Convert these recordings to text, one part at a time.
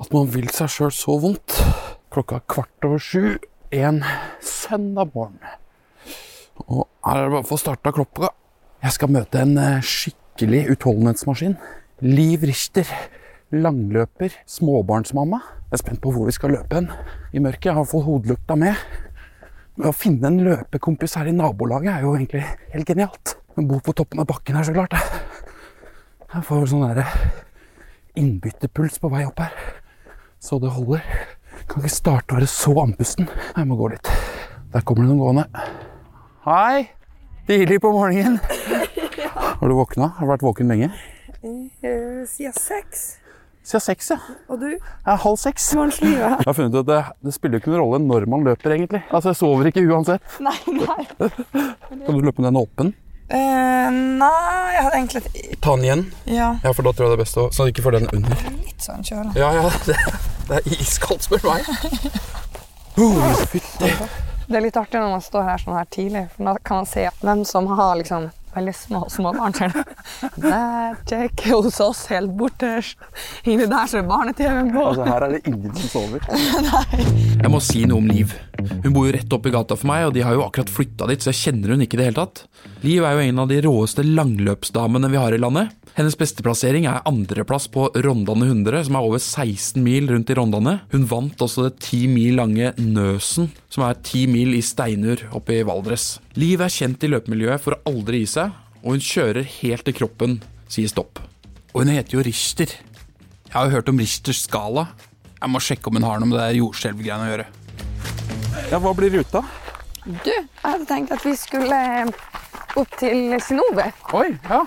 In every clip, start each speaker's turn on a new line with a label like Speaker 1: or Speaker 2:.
Speaker 1: at man vil seg sjøl så vondt. Klokka er kvart over sju en søndag morgen. Og her er det bare for å starte klokka. Jeg skal møte en eh, skikkelig utholdenhetsmaskin. Liv Richter. Langløper. Småbarnsmamma. Jeg er spent på hvor vi skal løpe hen. I mørket. Jeg har i hvert fall hodelykta med. Men å finne en løpekompis her i nabolaget er jo egentlig helt genialt. Men bor på toppen av bakken her, så klart. Jeg får vel sånn derre innbytterpuls på vei opp her. Så det holder. Kan ikke starte å være så andpusten. Jeg må gå litt. Der kommer det noen gående. Hei! Tidlig på morgenen. Har du våkna? Har du vært våken lenge?
Speaker 2: Eh, Siden seks.
Speaker 1: Siden seks, ja.
Speaker 2: Og du?
Speaker 1: Jeg er halv seks.
Speaker 2: Barnslivet?
Speaker 1: Jeg har funnet ut at det, det spiller ikke noen rolle når man løper, egentlig. Altså, Jeg sover ikke uansett.
Speaker 2: Nei, nei.
Speaker 1: Kan du løpe med den åpen?
Speaker 2: Eh, nei, jeg hadde egentlig et-
Speaker 1: Ta den igjen.
Speaker 2: Ja,
Speaker 1: Ja, for da tror jeg det er best å Så du ikke får den under.
Speaker 2: litt sånn kjøre.
Speaker 1: Ja, ja. Det, det er iskaldt, spør du meg. Oh, fytti.
Speaker 2: Det er litt artig når man står her sånn her tidlig, for da kan man se hvem som har liksom veldig små, små barn. Sånn. Der, check, hos oss, helt borterst. Inni der så er barne-TV-en på.
Speaker 1: Altså, her er det ingen som sover.
Speaker 3: Jeg må si noe om Liv. Hun bor jo rett oppi gata for meg, og de har jo akkurat flytta dit, så jeg kjenner hun ikke i det hele tatt. Liv er jo en av de råeste langløpsdamene vi har i landet. Hennes beste plassering er andreplass på Rondane 100, som er over 16 mil rundt i Rondane. Hun vant også det 10 mil lange Nøsen, som er 10 mil i Steinur oppe i Valdres. Liv er kjent i løpemiljøet for å aldri gi seg, og hun kjører helt til kroppen sier stopp. Og hun heter jo Richter. Jeg har jo hørt om Richters skala. Jeg må sjekke om hun har noe med det der jordskjelvgreiene å gjøre.
Speaker 1: Ja, hva blir ruta?
Speaker 2: Du, jeg hadde tenkt at vi skulle eh, opp til Sinove,
Speaker 1: Oi, ja.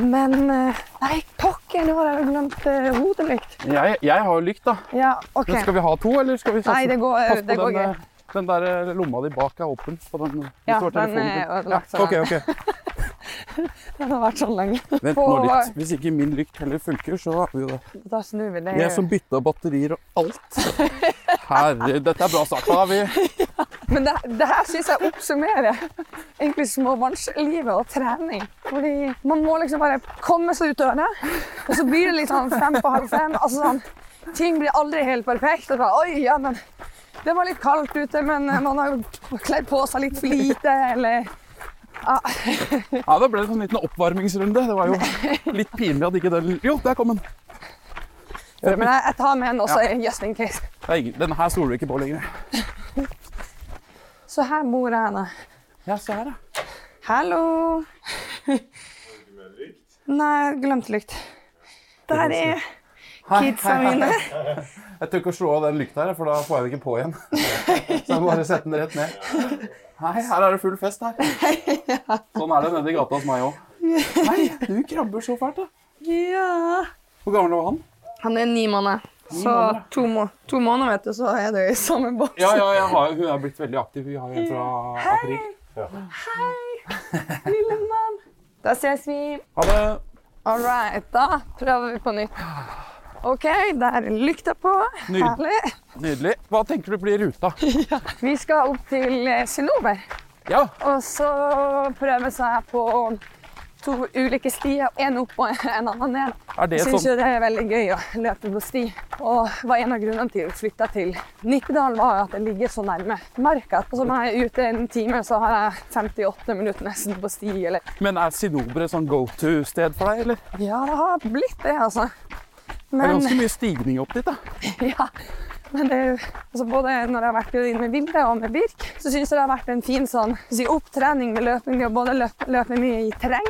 Speaker 2: men eh, Nei, pokker, nå har jeg jo glemt eh, hodelykt.
Speaker 1: Jeg, jeg har jo lykt, da.
Speaker 2: Ja, OK.
Speaker 1: Men skal vi ha to, eller skal vi satse?
Speaker 2: Nei, det går-
Speaker 1: Pass på
Speaker 2: det går
Speaker 1: den,
Speaker 2: greit.
Speaker 1: eh, Den der eh, lomma di bak er åpen. På den, hvis
Speaker 2: Ja,
Speaker 1: du har
Speaker 2: den eh,
Speaker 1: telefonen
Speaker 2: er
Speaker 1: din.
Speaker 2: ødelagt, så
Speaker 1: Ja, ok,
Speaker 2: den-
Speaker 1: ok.
Speaker 2: Den har vært sånn lenge.
Speaker 1: Vent nå litt. Hvis ikke min lykt heller funker, så jo da.
Speaker 2: Da snur vi det.
Speaker 1: Jeg som bytta batterier og alt. Herre, dette er bra sagt. Da har vi
Speaker 2: Men det, det her syns jeg oppsummerer egentlig småbarnslivet og trening. Fordi man må liksom bare komme seg ut døra, og så blir det litt sånn fem på halv fem. Altså sånn, ting blir aldri helt perfekt. Og så, Oi, ja, men det var litt kaldt ute, men man har jo kledd på seg litt for lite, eller
Speaker 1: Ja, da ble det en sånn liten oppvarmingsrunde. Det var jo litt pinlig at ikke den Jo, der kom den.
Speaker 2: Men jeg, jeg tar med en også, just in case.
Speaker 1: Det er ingen- Den her stoler vi ikke på lenger.
Speaker 2: Så her bor jeg henne.
Speaker 1: Ja, se her, ja.
Speaker 2: Hallo! Nei, jeg glemte lykt. Der er
Speaker 1: Hei,
Speaker 2: kidsa
Speaker 1: hei, hei.
Speaker 2: mine.
Speaker 1: Jeg tør ikke å slå av den lykta her, for da får jeg det ikke på igjen. Så jeg må bare sette den rett ned. Hei, her er det full fest her. Sånn er det nede i gata hos meg òg. Hei, du krabber så fælt, da.
Speaker 2: Ja.
Speaker 1: Hvor gammel var han?
Speaker 2: Han er ni måneder. Så
Speaker 1: måneder, ja.
Speaker 2: to, må to måneder, vet du, så er det i samme båt.
Speaker 1: Ja, ja, jeg har, hun er blitt veldig aktiv. Vi har en fra april.
Speaker 2: Lille mann. Da ses vi.
Speaker 1: Ha det.
Speaker 2: All right, da prøver vi på nytt. OK, der er lykta på.
Speaker 1: Ny.
Speaker 2: Herlig.
Speaker 1: Nydelig. Hva tenker du blir ruta?
Speaker 2: Vi skal opp til eh, Sinover,
Speaker 1: Ja,
Speaker 2: og så prøve seg på to ulike stier. En opp og en annen ned.
Speaker 1: er det
Speaker 2: Jeg syns
Speaker 1: sånn?
Speaker 2: jo det er veldig gøy å løpe på sti. Og var en av grunnene til vi flytta til Nittedal, var at det ligger så nærme marka. Og så når jeg er ute en time, så har jeg 58 minutter nesten på sti. Eller
Speaker 1: Men er Sinobre sånn go to-sted for deg, eller?
Speaker 2: Ja, det har blitt det, altså.
Speaker 1: Det er
Speaker 2: Men,
Speaker 1: ganske mye stigning opp dit, da.
Speaker 2: ja, men det, er jo- altså både når jeg har vært inn med Vilde og med Birk, så syns jeg det har vært en fin sånn, skal vi si, opptrening med løping. Det å både løpe, løpe mye i terreng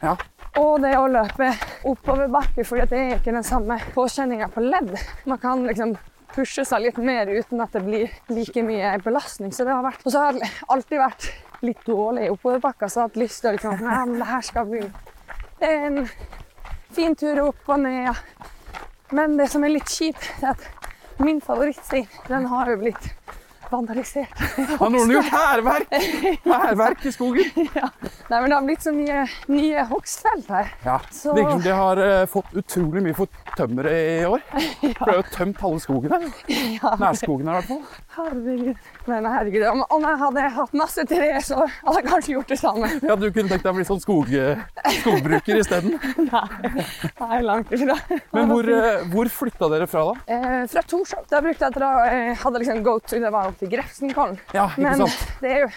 Speaker 1: Ja.
Speaker 2: Og det å løpe oppoverbakke, for det er ikke den samme påkjenninga på ledd. Man kan liksom pushe seg litt mer uten at det blir like mye belastning. Så det har vært, og så har jeg alltid vært litt dårlig i oppoverbakka, så jeg har hatt lyst til å liksom, Nei, men det her skal bli det er en fin tur opp og ned. Men det som er litt kjipt, er at min favorittstein, den har jo blitt vandalisert.
Speaker 3: Har noen gjort hærverk? Hærverk i skogen?
Speaker 2: Nei, men det har blitt så mye nye hogstfelt her.
Speaker 3: Ja,
Speaker 2: Så-
Speaker 3: Det virker som de har eh, fått utrolig mye for tømmeret i år. For det er jo tømt halve skogen her.
Speaker 2: Ja,
Speaker 3: Nærskogen her i hvert fall.
Speaker 2: herregud. Men herregud, om, om jeg hadde hatt masse tre, så hadde jeg kanskje gjort det samme.
Speaker 3: Ja, du kunne tenkt deg å bli sånn skog, skogbruker isteden.
Speaker 2: Nei, langt ifra.
Speaker 3: Men hvor, eh, hvor flytta dere fra da?
Speaker 2: Eh, fra Torshov. Da brukte jeg at jeg eh, hadde liksom go to det var opp til Grefsenkollen.
Speaker 3: Ja, ikke
Speaker 2: Men
Speaker 3: sant?
Speaker 2: det er jo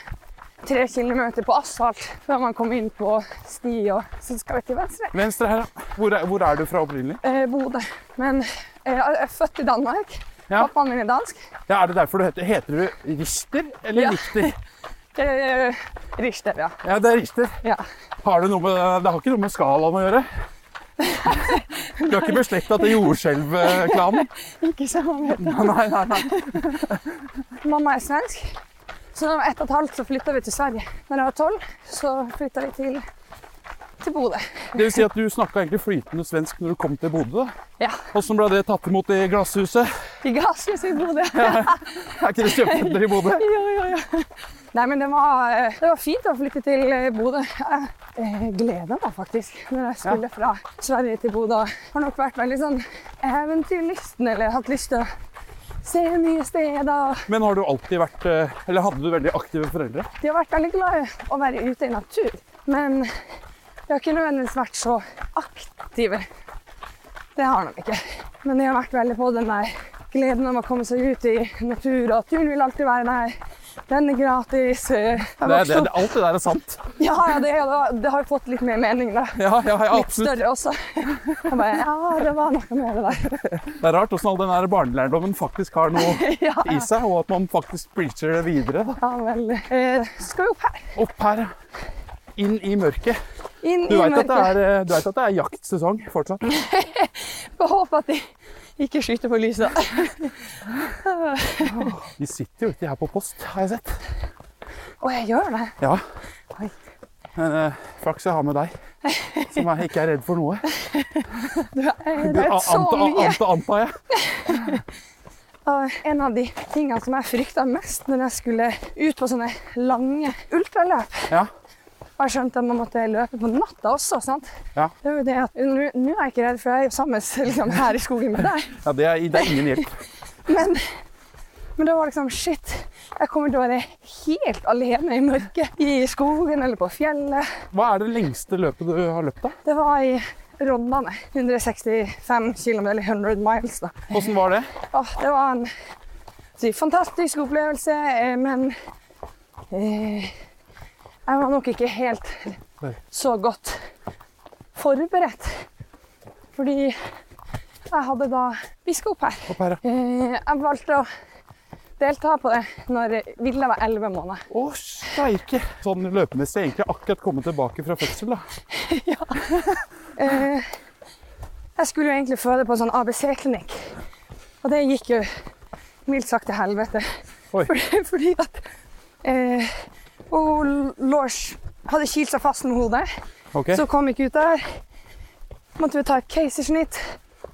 Speaker 2: tre kilometer på asfalt før man kommer inn på sti, og så skal vi til venstre.
Speaker 3: Venstre her, ja. Hvor er, hvor er du fra opprinnelig?
Speaker 2: Eh, Bodø. Men eh, jeg er født i Danmark.
Speaker 3: Ja.
Speaker 2: Pappaen min er dansk.
Speaker 3: Ja, er det derfor du heter Heter du Rister eller
Speaker 2: Ja.
Speaker 3: Richter?
Speaker 2: Eh, Richter, ja.
Speaker 3: Ja, det er Richter.
Speaker 2: ja.
Speaker 3: Har det, noe med, det har ikke noe med skalaen å gjøre? Du er ikke beslekta til jordskjelvklanen?
Speaker 2: Ikke så mange vet det.
Speaker 3: Nei, nei, nei.
Speaker 2: Mamma er svensk. Så da jeg var ett og et halvt, så flytta vi til Sverige. Når jeg var tolv, så flytta vi til, til Bodø.
Speaker 3: Det vil si at du snakka egentlig flytende svensk når du kom til Bodø. da.
Speaker 2: Ja.
Speaker 3: Åssen ble det tatt imot i glasshuset?
Speaker 2: I gasshuset i Bodø.
Speaker 3: Er ikke det kjøpesenter i Bodø?
Speaker 2: Ja, ja, ja. Nei, men det var, eh, det var fint å flytte til eh, Bodø. Jeg eh, gleda meg faktisk når jeg skulle fra Sverige til Bodø. Jeg har nok vært veldig sånn eventyrlysten, eller hatt lyst til å se nye steder.
Speaker 3: Men har du alltid vært eh, Eller hadde du veldig aktive foreldre?
Speaker 2: De har vært veldig glad i å være ute i natur, men de har ikke nødvendigvis vært så aktive. Det har de ikke. Men de har vært veldig på den der gleden om å komme seg ut i natur, og turen vil alltid være der. Den er gratis. Jeg
Speaker 3: Det, er-
Speaker 2: vokste
Speaker 3: det, er- alt det der er sant.
Speaker 2: Ja, ja det, det, det har jo fått litt mer mening, da.
Speaker 3: Ja, ja, ja
Speaker 2: Litt
Speaker 3: absolutt.
Speaker 2: større også. Jeg bare, ja, det var noe med det der.
Speaker 3: Det er rart åssen all den der barnelærdommen faktisk har noe
Speaker 2: Ja,
Speaker 3: i seg, og at man faktisk preacher det videre. Da.
Speaker 2: ja vel. Eh, skal vi opp her?
Speaker 3: Opp her, ja. inn i mørket.
Speaker 2: Inn
Speaker 3: Du
Speaker 2: i
Speaker 3: veit at, det
Speaker 2: mørket.
Speaker 3: er, eh, du vet at det er jaktsesong fortsatt?
Speaker 2: Får håpe at de ikke skyter på lyset.
Speaker 3: De sitter jo ikke her på post, har jeg sett.
Speaker 2: Å, jeg gjør det.
Speaker 3: Ja.
Speaker 2: Oi.
Speaker 3: Men eh, flaks jeg har med deg, som er, ikke er redd for noe.
Speaker 2: Du Eh, er
Speaker 3: Du,
Speaker 2: redd så
Speaker 3: anta-
Speaker 2: mye.
Speaker 3: anta- antar jeg.
Speaker 2: Og en av de tingene som jeg frykta mest når jeg skulle ut på sånne lange ultraløp,
Speaker 3: Ja.
Speaker 2: og jeg skjønte at man måtte løpe på natta også, sant?
Speaker 3: Ja.
Speaker 2: Det er jo det at nå nå er jeg ikke redd, for jeg er jo sammen liksom, her i skogen med deg.
Speaker 3: Ja, det, er, det er ingen hjelp.
Speaker 2: Men, men det var liksom shit. Jeg kommer til å være helt alene i mørket. I skogen eller på fjellet.
Speaker 3: Hva er det lengste løpet du har løpt, da?
Speaker 2: Det var i Rondane. 165 km, eller 100 miles. da.
Speaker 3: Åssen var det?
Speaker 2: Åh, det var en si, fantastisk opplevelse, eh, men eh, Jeg var nok ikke helt
Speaker 3: Nei.
Speaker 2: så godt forberedt. Fordi jeg hadde da Vi skal opp her.
Speaker 3: Opp her, ja.
Speaker 2: Eh, Jeg valgte å delta på det når Villa var 11 måneder.
Speaker 3: Å, steike! Sånn løpemessig er jeg egentlig akkurat kommet tilbake fra fødsel, da.
Speaker 2: Eh, Jeg skulle jo egentlig føde på en sånn ABC-klinikk, og det gikk jo mildt sagt til helvete.
Speaker 3: Oi.
Speaker 2: Fordi, fordi at eh, hun Lors hadde kilt seg fast med hodet,
Speaker 3: Ok.
Speaker 2: så kom ikke ut der. Måtte vi ta et keisersnitt.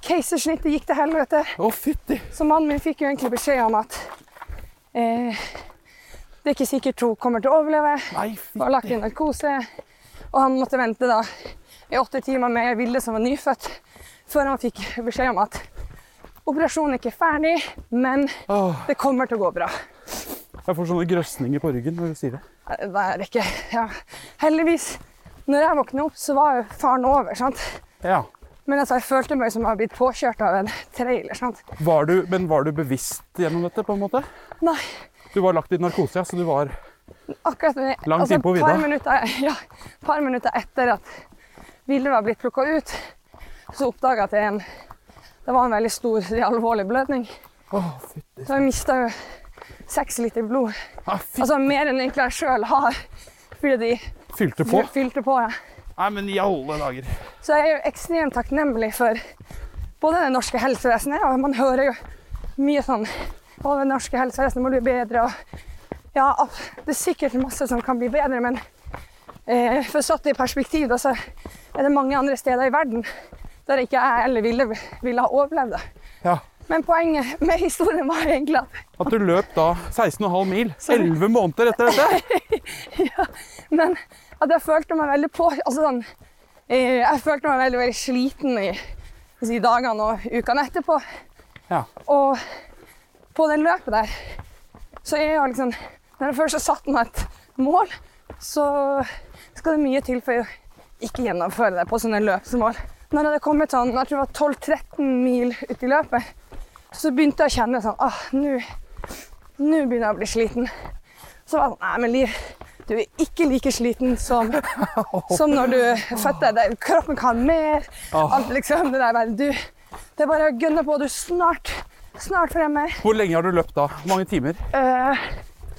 Speaker 2: Keisersnittet gikk til helvete.
Speaker 3: Å, fytti!
Speaker 2: Så mannen min fikk jo egentlig beskjed om at eh, det er ikke sikkert hun kommer til å overleve.
Speaker 3: Nei,
Speaker 2: og lagt
Speaker 3: fytti!
Speaker 2: inn narkose. Og han måtte vente da i åtte timer med Ville som var nyfødt, før han fikk beskjed om at operasjonen ikke er ferdig, men
Speaker 3: Åh,
Speaker 2: det kommer til å gå bra.
Speaker 3: jeg får sånne grøsninger på ryggen når du sier det.
Speaker 2: Nei, Det er ikke ja. Heldigvis, når jeg våkna opp, så var jo faren over. sant?
Speaker 3: Ja.
Speaker 2: Men altså, jeg følte meg som jeg hadde blitt påkjørt av en trailer. sant?
Speaker 3: Var du, men var du bevisst gjennom dette, på en måte?
Speaker 2: Nei,
Speaker 3: Du var lagt i narkose, ja, så du var
Speaker 2: akkurat når jeg-
Speaker 3: Langt
Speaker 2: altså,
Speaker 3: innpå vidda.
Speaker 2: par minutter, ja, par minutter etter at Ville var blitt plukka ut, så oppdaga jeg at det, er en, det var en veldig stor, alvorlig blødning.
Speaker 3: Å, fytti.
Speaker 2: Så jeg mista jo seks liter blod.
Speaker 3: Ah, fytti.
Speaker 2: Altså mer enn egentlig jeg sjøl har. Fordi de
Speaker 3: Fylte på?
Speaker 2: fylte på. Ja.
Speaker 3: Nei, men i alle dager.
Speaker 2: Så jeg er jo ekstremt takknemlig for både det norske helsevesenet, og man hører jo mye sånn Å, det norske helsevesenet må bli bedre, og Ja, det er sikkert masse som kan bli bedre, men eh, for satt i perspektiv, da, så er det mange andre steder i verden der ikke jeg heller ville, ville ha overlevd det.
Speaker 3: Ja.
Speaker 2: Men poenget med historien var egentlig at
Speaker 3: At du løp da 16,5 mil, 11 måneder etter dette.
Speaker 2: Men at jeg følte meg veldig på altså sånn, eh, Jeg følte meg veldig, veldig sliten i skal si, dagene og ukene etterpå.
Speaker 3: Ja.
Speaker 2: Og på det løpet der, så er jo liksom Når jeg først har satt meg et mål, så skal det mye til for å ikke gjennomføre det på sånne løpsmål. Når jeg hadde kommet sånn, jeg tror det var 12-13 mil ut i løpet, så begynte jeg å kjenne sånn ah, nå nå begynner jeg å bli sliten. Så var jeg sånn Nei, men Liv, du er ikke like sliten som, som når du fødte. Det- Kroppen kan mer. Alt liksom det der bare Du, det er bare å gønne på. Du er snart, snart fremme.
Speaker 3: Hvor lenge har du løpt da? Hvor mange timer?
Speaker 2: Eh,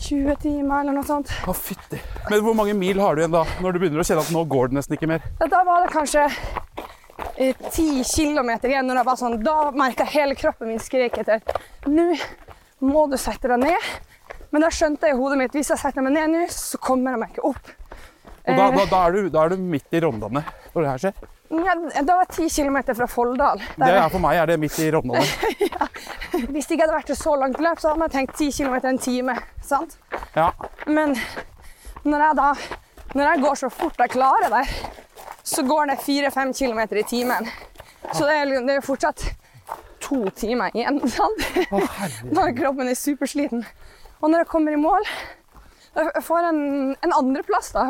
Speaker 2: 20 timer eller noe sånt.
Speaker 3: Å, fytti. Men hvor mange mil har du igjen da, når du begynner å kjenne at nå går det nesten ikke mer?
Speaker 2: Ja, Da var det kanskje eh, 10 km igjen. Når jeg var sånn, da merka hele kroppen min skrek etter Nå må du sette deg ned. Men da skjønte jeg i hodet mitt hvis jeg setter meg ned nå, så kommer jeg meg ikke opp.
Speaker 3: Og da,
Speaker 2: Eh.
Speaker 3: da, da, er, du, da er du midt i Rondane når det her skjer.
Speaker 2: Ja, da var jeg 10 km fra Folldal.
Speaker 3: Det
Speaker 2: Der,
Speaker 3: er for meg er det midt i Rondane.
Speaker 2: Hvis det ikke hadde vært et så langt løp, så hadde man tenkt 10 km en time. sant?
Speaker 3: Ja.
Speaker 2: Men når jeg da når jeg går så fort jeg klarer der, så går det 4-5 km i timen. Så det er, liksom- det er jo fortsatt to timer igjen. sant? Når kroppen er supersliten. Og når jeg kommer i mål, jeg får jeg en, en andreplass, da.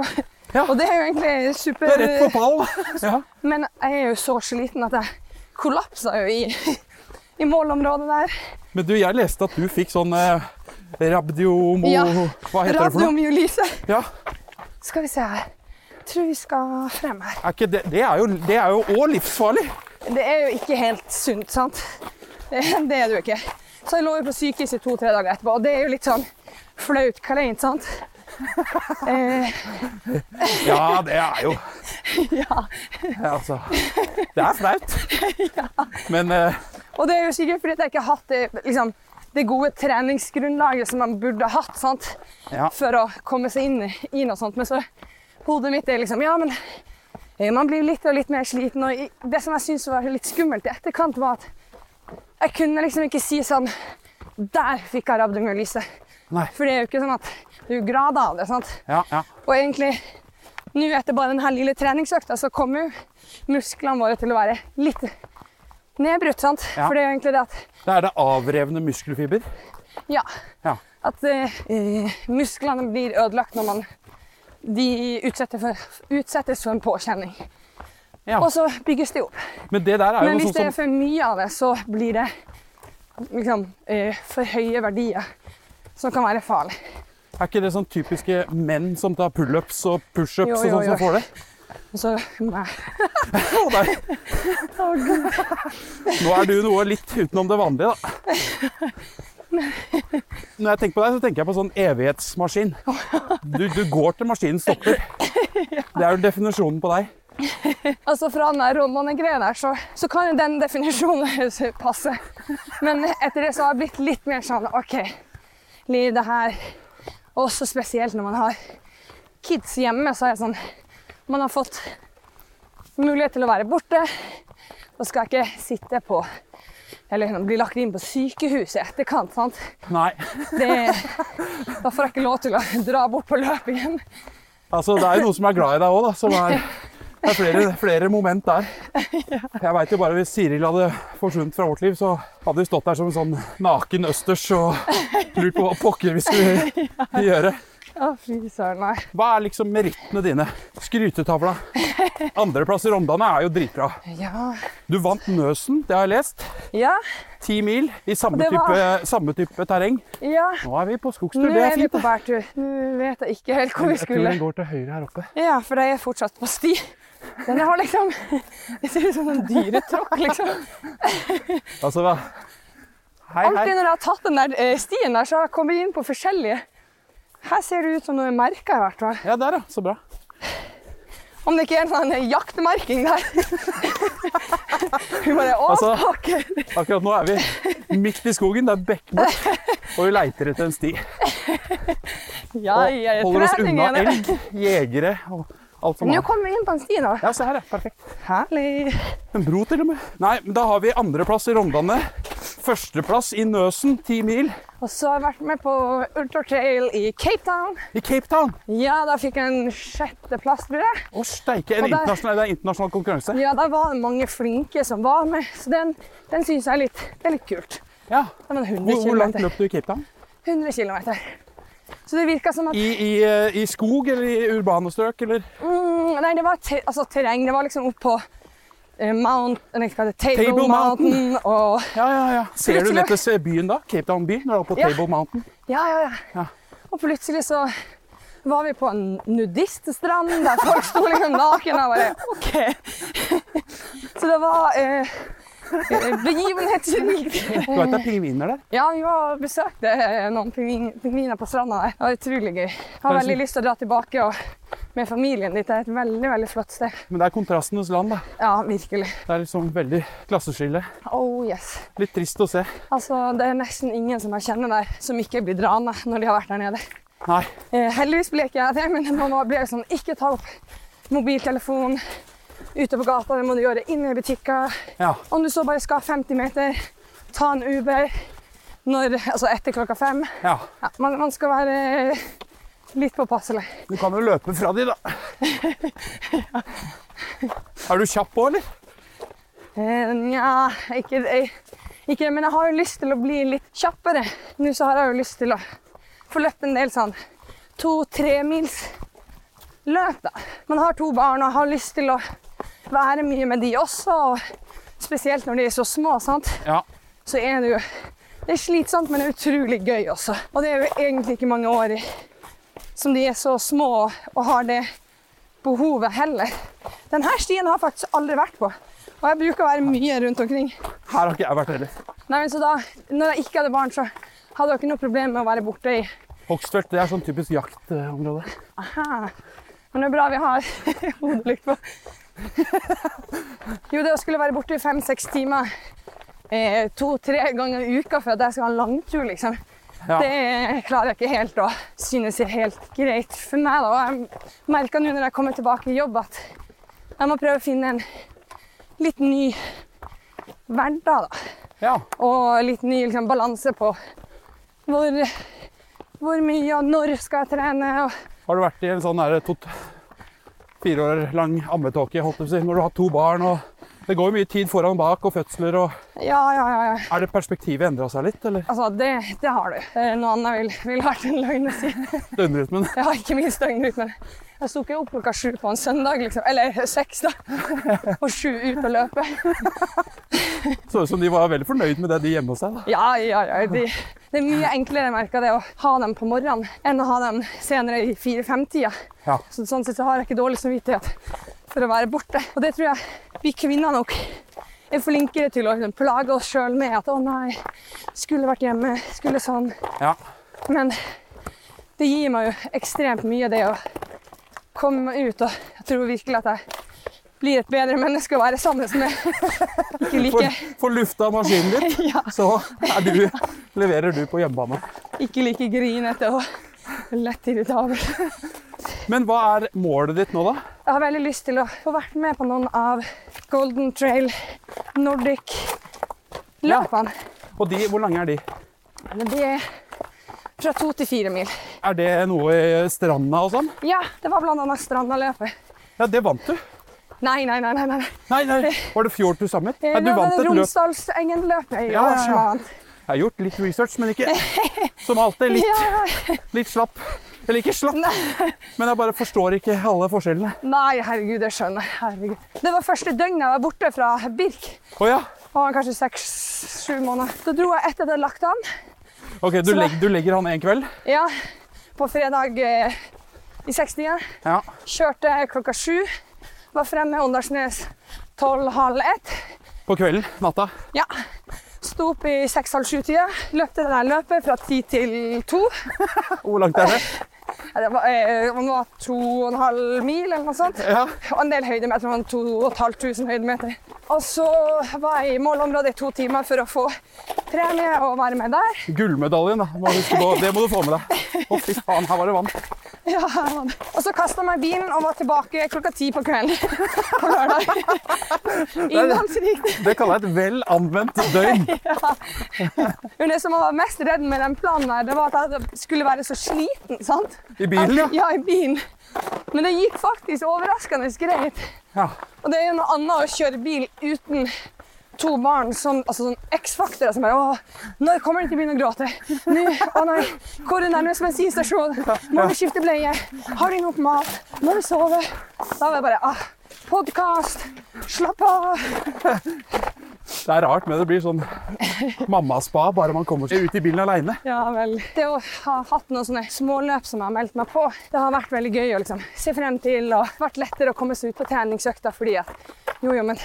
Speaker 3: Ja.
Speaker 2: Og det er jo egentlig super
Speaker 3: Det er rett på pall. Ja.
Speaker 2: Men jeg er jo så sliten at jeg kollapsa jo i, i målområdet der.
Speaker 3: Men du, jeg leste at du fikk sånn eh, rabdiomo...
Speaker 2: Ja.
Speaker 3: Hva heter det for noe?
Speaker 2: Radiomyolyse.
Speaker 3: Ja.
Speaker 2: Skal vi se her. Tror vi skal frem her.
Speaker 3: Er ikke det, det er jo det er jo òg livsfarlig.
Speaker 2: Det er jo ikke helt sunt, sant? Det, det er det jo ikke. Så jeg lå jo på sykehus i to-tre dager etterpå, og det er jo litt sånn flaut kleint, sant? Eh,
Speaker 3: Ja, det er jo
Speaker 2: ja.
Speaker 3: ja, altså, Det er flaut. Men eh,
Speaker 2: Og det er jo sikkert fordi at jeg ikke har hatt det, liksom, det gode treningsgrunnlaget som man burde hatt sant?
Speaker 3: Ja.
Speaker 2: for å komme seg inn i- i noe sånt. Men så hodet mitt er liksom Ja, men eh, man blir litt og litt mer sliten. Og i- det som jeg syntes var litt skummelt i etterkant, var at jeg kunne liksom ikke si sånn Der fikk jeg rabdomyolyse.
Speaker 3: Nei.
Speaker 2: For det er jo ikke sånn at det er jo grader av det. sant?
Speaker 3: Ja, ja.
Speaker 2: Og egentlig, nå etter bare denne lille treningsøkta, så kommer jo musklene våre til å være litt nedbrutt. sant?
Speaker 3: Ja.
Speaker 2: For det er jo egentlig det at
Speaker 3: Da er det avrevne muskelfiber.
Speaker 2: Ja.
Speaker 3: Ja.
Speaker 2: At eh, eh, musklene blir ødelagt når man de utsetter for, utsettes for en påkjenning.
Speaker 3: Ja.
Speaker 2: Og så bygges det opp.
Speaker 3: Men det der er jo
Speaker 2: Men
Speaker 3: noe
Speaker 2: hvis det
Speaker 3: sånn
Speaker 2: er
Speaker 3: som
Speaker 2: for mye av det, så blir det liksom eh, for høye verdier. Som kan være farlig.
Speaker 3: Er ikke det sånn typiske menn som tar pullups og pushups
Speaker 2: Jo,
Speaker 3: og sånn som
Speaker 2: jo, jo.
Speaker 3: får det?
Speaker 2: Og så må jeg
Speaker 3: Å, nei. Nå er du noe litt utenom det vanlige, da. Når jeg tenker på deg, så tenker jeg på sånn evighetsmaskin. Du, du går til maskinen stopper. Det er jo definisjonen på deg.
Speaker 2: Altså Fra den der romanegreia der, så, så kan jo den definisjonen passe. Men etter det så har jeg blitt litt mer sånn OK, Liv, det her Også spesielt når man har kids hjemme, så er jeg sånn Man har fått mulighet til å være borte. Da skal jeg ikke sitte på Eller liksom bli lagt inn på sykehuset i etterkant. sant?
Speaker 3: Nei.
Speaker 2: Det, da får jeg ikke lov til å dra bort på løp igjen.
Speaker 3: Altså, det er jo noen som er glad i deg òg, da. Som er, det er flere, flere moment der. Jeg veit jo bare hvis Siril hadde forsvunnet fra vårt liv, så hadde vi stått der som en sånn naken østers og lurt på hva pokker vi skulle gjøre.
Speaker 2: Å, fy søren, nei.
Speaker 3: Hva er liksom merittene dine? Skrytetavla. Andreplass i Rondane er jo dritbra.
Speaker 2: Ja.
Speaker 3: Du vant Nøsen, det har jeg lest.
Speaker 2: ja.
Speaker 3: Ti mil i samme
Speaker 2: Det
Speaker 3: type,
Speaker 2: var-
Speaker 3: samme type terreng.
Speaker 2: Ja,
Speaker 3: Nå er vi på skogstur,
Speaker 2: nå
Speaker 3: det
Speaker 2: er
Speaker 3: er
Speaker 2: vi
Speaker 3: fint.
Speaker 2: på
Speaker 3: da.
Speaker 2: bærtur. Nå vet jeg ikke helt hvor vi
Speaker 3: Jeg tror
Speaker 2: skulle.
Speaker 3: den går til høyre her oppe.
Speaker 2: Ja, for jeg er fortsatt på sti. Den har liksom Det ser ut som en dyretråkk, liksom.
Speaker 3: Altså, hva? Hei,
Speaker 2: Alltid
Speaker 3: hei.
Speaker 2: når jeg har tatt den der eh, stien der, så har jeg kommet inn på forskjellige Her ser det ut som noe merka, i hvert fall.
Speaker 3: Ja, der, ja. Så bra.
Speaker 2: Om det ikke er en sånn jaktmerking der. Vi bare Å,
Speaker 3: Altså-
Speaker 2: pokker!
Speaker 3: Akkurat nå er vi midt i skogen. Det er bekkbort. Og vi leiter etter en sti.
Speaker 2: Ja,
Speaker 3: Og
Speaker 2: ja, ja,
Speaker 3: holder oss
Speaker 2: trening
Speaker 3: unna
Speaker 2: igjen.
Speaker 3: elg, jegere og
Speaker 1: alt som
Speaker 2: Nå
Speaker 1: er.
Speaker 2: kommer vi inn på en sti, da.
Speaker 1: Ja, se her, ja. Perfekt.
Speaker 2: Herlig.
Speaker 1: En bro, til og med. Nei, men da har vi andreplass i Rondane. Førsteplass i Nøsen, ti mil.
Speaker 2: Og så har jeg vært med på ultratrail i Cape Town.
Speaker 1: I Cape Town.
Speaker 2: Ja, da fikk jeg en sjetteplass, tror jeg.
Speaker 1: Å, steike. En
Speaker 2: Og der-
Speaker 1: internasjonal, det er internasjonal konkurranse.
Speaker 2: Ja, der var det mange flinke som var med, så den, den syns jeg er litt, det er litt kult.
Speaker 1: Ja.
Speaker 2: Det var en 100
Speaker 1: Hvor, hvor langt
Speaker 2: kilometer.
Speaker 1: løp du i Cape Town?
Speaker 2: 100 kilometer. Så det virka som at
Speaker 1: I, i, eh, I skog eller i urbane strøk, eller?
Speaker 2: mm, Nei, det var te, altså, terreng. Det var liksom opp på eh, Mount, nei, hva heter det, Table,
Speaker 1: Table Mountain.
Speaker 2: Mountain. og
Speaker 1: Ja, ja, ja. Ser du
Speaker 2: Plutselig-
Speaker 1: lettest eh, byen da? Cape Town by, når du er på
Speaker 2: Ja.
Speaker 1: Table Mountain.
Speaker 2: Ja, ja, ja.
Speaker 1: Ja.
Speaker 2: Og plutselig så var vi på en nudiststrand der folk sto liksom naken og bare OK. Så det var eh, eh, begivenhetsrikt.
Speaker 1: Du vet det er pingviner der?
Speaker 2: Ja, vi var og besøkte eh, noen pingvin- pingviner på stranda der. Det var utrolig gøy. Jeg har veldig lyst til å dra tilbake og, med familien dit. Det er et veldig, veldig flott sted.
Speaker 1: Men det er kontrastenes land, da.
Speaker 2: Ja, virkelig.
Speaker 1: Det er liksom veldig klasseskille.
Speaker 2: Oh yes.
Speaker 1: Litt trist å se.
Speaker 2: Altså, det er nesten ingen som jeg kjenner der, som ikke blir drana når de har vært der nede.
Speaker 1: Nei.
Speaker 2: Eh, heldigvis ble ikke jeg det, men mamma ble sånn Ikke ta opp mobiltelefon ute på gata, det må du gjøre inne i butikker.
Speaker 1: Ja.
Speaker 2: Om du så bare skal 50 meter, ta en Uber når, altså etter klokka fem.
Speaker 1: ja.
Speaker 2: Ja, man, man skal være litt påpasselig.
Speaker 1: Du kan jo løpe fra de, da. Er du kjapp òg, eller?
Speaker 2: Eh, Nja, ikke det. Ikke, men jeg har jo lyst til å bli litt kjappere. Nå så har jeg jo lyst til å få løpt en del sånn to-tre mils løp, da. Man har to barn og har lyst til å være mye med de også. Og spesielt når de er så små, sant?
Speaker 1: Ja.
Speaker 2: så er det jo det er slitsomt, men det er utrolig gøy også. Og det er jo egentlig ikke mange år i, som de er så små og har det behovet heller. Denne stien har jeg faktisk aldri vært på. Og jeg bruker å være mye rundt omkring.
Speaker 1: Her har ikke jeg vært heller.
Speaker 2: Nei, men så da når jeg ikke hadde barn, så hadde jeg ikke noe problem med å være borte i
Speaker 1: Hogsfeldt det er sånn typisk jaktområde.
Speaker 2: Aha. Men det er bra vi har hodelykt på. jo, det å skulle være borte i fem-seks timer eh, to-tre ganger i uka for at jeg skal ha en langtur, liksom.
Speaker 1: Ja.
Speaker 2: Det klarer jeg ikke helt å synes er helt greit for meg. Da. Og Jeg merker nå når jeg kommer tilbake i jobb at jeg må prøve å finne en litt ny hverdag. Da.
Speaker 1: ja.
Speaker 2: Og litt ny liksom, balanse på hvor, hvor mye og når skal jeg trene. Og
Speaker 1: Har du vært i en sånn her tot- fire år lang ammetåke, holdt jeg på å si, når du har to barn og Det går jo mye tid foran og bak og fødsler og
Speaker 2: ja, ja, ja. ja.
Speaker 1: Er det perspektivet endra seg litt, eller?
Speaker 2: Altså, det, det har du. Eh, Noe annet ville vil vært en løgn å si.
Speaker 1: Døgnrytmen?
Speaker 2: Jeg har ikke minst døgnrytmen. Jeg sto ikke opp klokka sju på en søndag, liksom. Eller seks, da. Og sju ut og løpe.
Speaker 1: Så ut som de var veldig fornøyd med det de gjemte seg. da.
Speaker 2: Ja, ja, ja. De, det er mye enklere, merker jeg, det, å ha dem på morgenen enn å ha dem senere i fire-fem-tida.
Speaker 1: Ja.
Speaker 2: Så sånn sett så har jeg ikke dårlig samvittighet for å være borte. Og det tror jeg vi kvinner nok er flinkere til å liksom, plage oss sjøl med at 'å nei, skulle vært hjemme', skulle sånn.
Speaker 1: Ja.
Speaker 2: Men det gir meg jo ekstremt mye, det å komme meg ut. Og jeg tror virkelig at jeg blir et bedre menneske å være sammen med. Ikke like,
Speaker 1: For, for lufta maskinen din,
Speaker 2: ja,
Speaker 1: så er du, leverer du på hjemmebane.
Speaker 2: ikke like grinete og lett irritabel.
Speaker 1: Men hva er målet ditt nå, da?
Speaker 2: Jeg har veldig lyst til å få vært med på noen av Golden Trail Nordic-løpene.
Speaker 1: Og de, hvor lange er de?
Speaker 2: Men de er fra to til fire mil.
Speaker 1: Er det noe i stranda og sånn?
Speaker 2: Ja, det var blant annet Strandaløpet.
Speaker 1: Ja, det vant du.
Speaker 2: Nei, nei, nei. nei, nei.
Speaker 1: Nei, nei, var det Fjord to Summit?
Speaker 2: Eh,
Speaker 1: Nei, du
Speaker 2: nå var
Speaker 1: vant
Speaker 2: det
Speaker 1: et løp.
Speaker 2: Romsdalsengen-løpet i
Speaker 1: Ja, ja,
Speaker 2: år
Speaker 1: ja.
Speaker 2: som jeg vant.
Speaker 1: Jeg har gjort litt research, men ikke som alltid litt,
Speaker 2: Ja,
Speaker 1: litt slapp. Eller ikke slapp,
Speaker 2: Nei,
Speaker 1: men jeg bare forstår ikke alle forskjellene.
Speaker 2: nei, herregud, jeg skjønner. Herregud. Det var første døgnet jeg var borte fra Birk.
Speaker 1: Å ja.
Speaker 2: Det var kanskje seks-sju måneder. Da dro jeg etter det lagt an.
Speaker 1: Ok, du,
Speaker 2: Så da-
Speaker 1: legg, du legger han en kveld?
Speaker 2: Ja, på fredag eh, i 60
Speaker 1: Ja.
Speaker 2: Kjørte klokka sju. Var fremme i Åndalsnes tolv, halv ett.
Speaker 1: På kvelden? Natta?
Speaker 2: Ja. Sto opp i seks-halv sju-tida. Løpte det der løpet fra ti til to.
Speaker 1: Hvor langt er det?
Speaker 2: Ja, Det var, eh, det var to og en halv mil eller noe sånt.
Speaker 1: Ja.
Speaker 2: Og en del høydemeter. det var to og et halvt tusen høydemeter. Og så var jeg i målområdet i to timer for å få premie og være med der.
Speaker 1: Gullmedaljen, da. Må du huske på. Det må du få med deg. Å, fy faen, her var det vann.
Speaker 2: Ja, Herman. og så kasta jeg meg i bilen og var tilbake klokka ti på kvelden på lørdag. Innholdsrikt.
Speaker 1: Det kaller jeg et vel anvendt døgn.
Speaker 2: Men det som jeg var mest redd med den planen, her, det var at jeg skulle være så sliten. sant?
Speaker 1: I bilen, ja.
Speaker 2: At- Ja, i bilen. Men det gikk faktisk overraskende greit.
Speaker 1: ja.
Speaker 2: Og det er jo noe annet å kjøre bil uten to barn som altså sånn X-faktorer som bare Åh, når kommer de til å begynne å gråte? Nå, å nei, hvor er nærmest bensinstasjon? Må vi skifte bleie? Har de nok mat? Må vi sove? Da var jeg bare ah, Podkast! Slapp av!
Speaker 1: Det er rart, men det blir sånn mammaspa bare man kommer seg ut i bilen aleine.
Speaker 2: Ja vel. Det å ha hatt noen sånne småløp som jeg har meldt meg på, det har vært veldig gøy å liksom se frem til. Og vært lettere å komme seg ut på treningsøkta fordi at jo, jo, men